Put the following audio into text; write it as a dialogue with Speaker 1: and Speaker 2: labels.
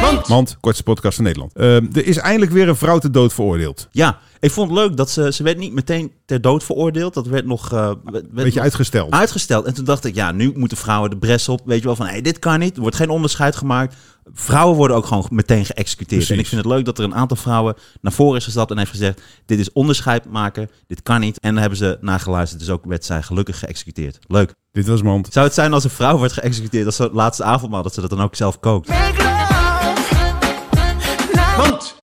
Speaker 1: Want,
Speaker 2: Want, kortste podcast van Nederland. Ehm, er is eindelijk weer een vrouw te dood veroordeeld.
Speaker 1: ja, ik vond het leuk dat ze, ze werd niet meteen ter dood veroordeeld. Dat werd nog... eh, werd- werd
Speaker 2: Beetje
Speaker 1: nog
Speaker 2: uitgesteld.
Speaker 1: uitgesteld. En toen dacht ik, ja, nu moeten vrouwen de bres op. Weet je wel, van hey, dit kan niet. Er wordt geen onderscheid gemaakt. Vrouwen worden ook gewoon meteen geëxecuteerd.
Speaker 2: Precies.
Speaker 1: En ik vind het leuk dat er een aantal vrouwen naar voren is gestapt en heeft gezegd, dit is onderscheid maken, dit kan niet. En dan hebben ze nageluisterd, dus ook werd zij gelukkig geëxecuteerd. Leuk.
Speaker 2: Dit was Mand.
Speaker 1: Zou het zijn als een vrouw wordt geëxecuteerd, als het laatste avondmaal, dat ze dat dan ook zelf kookt?
Speaker 3: Make love. Want.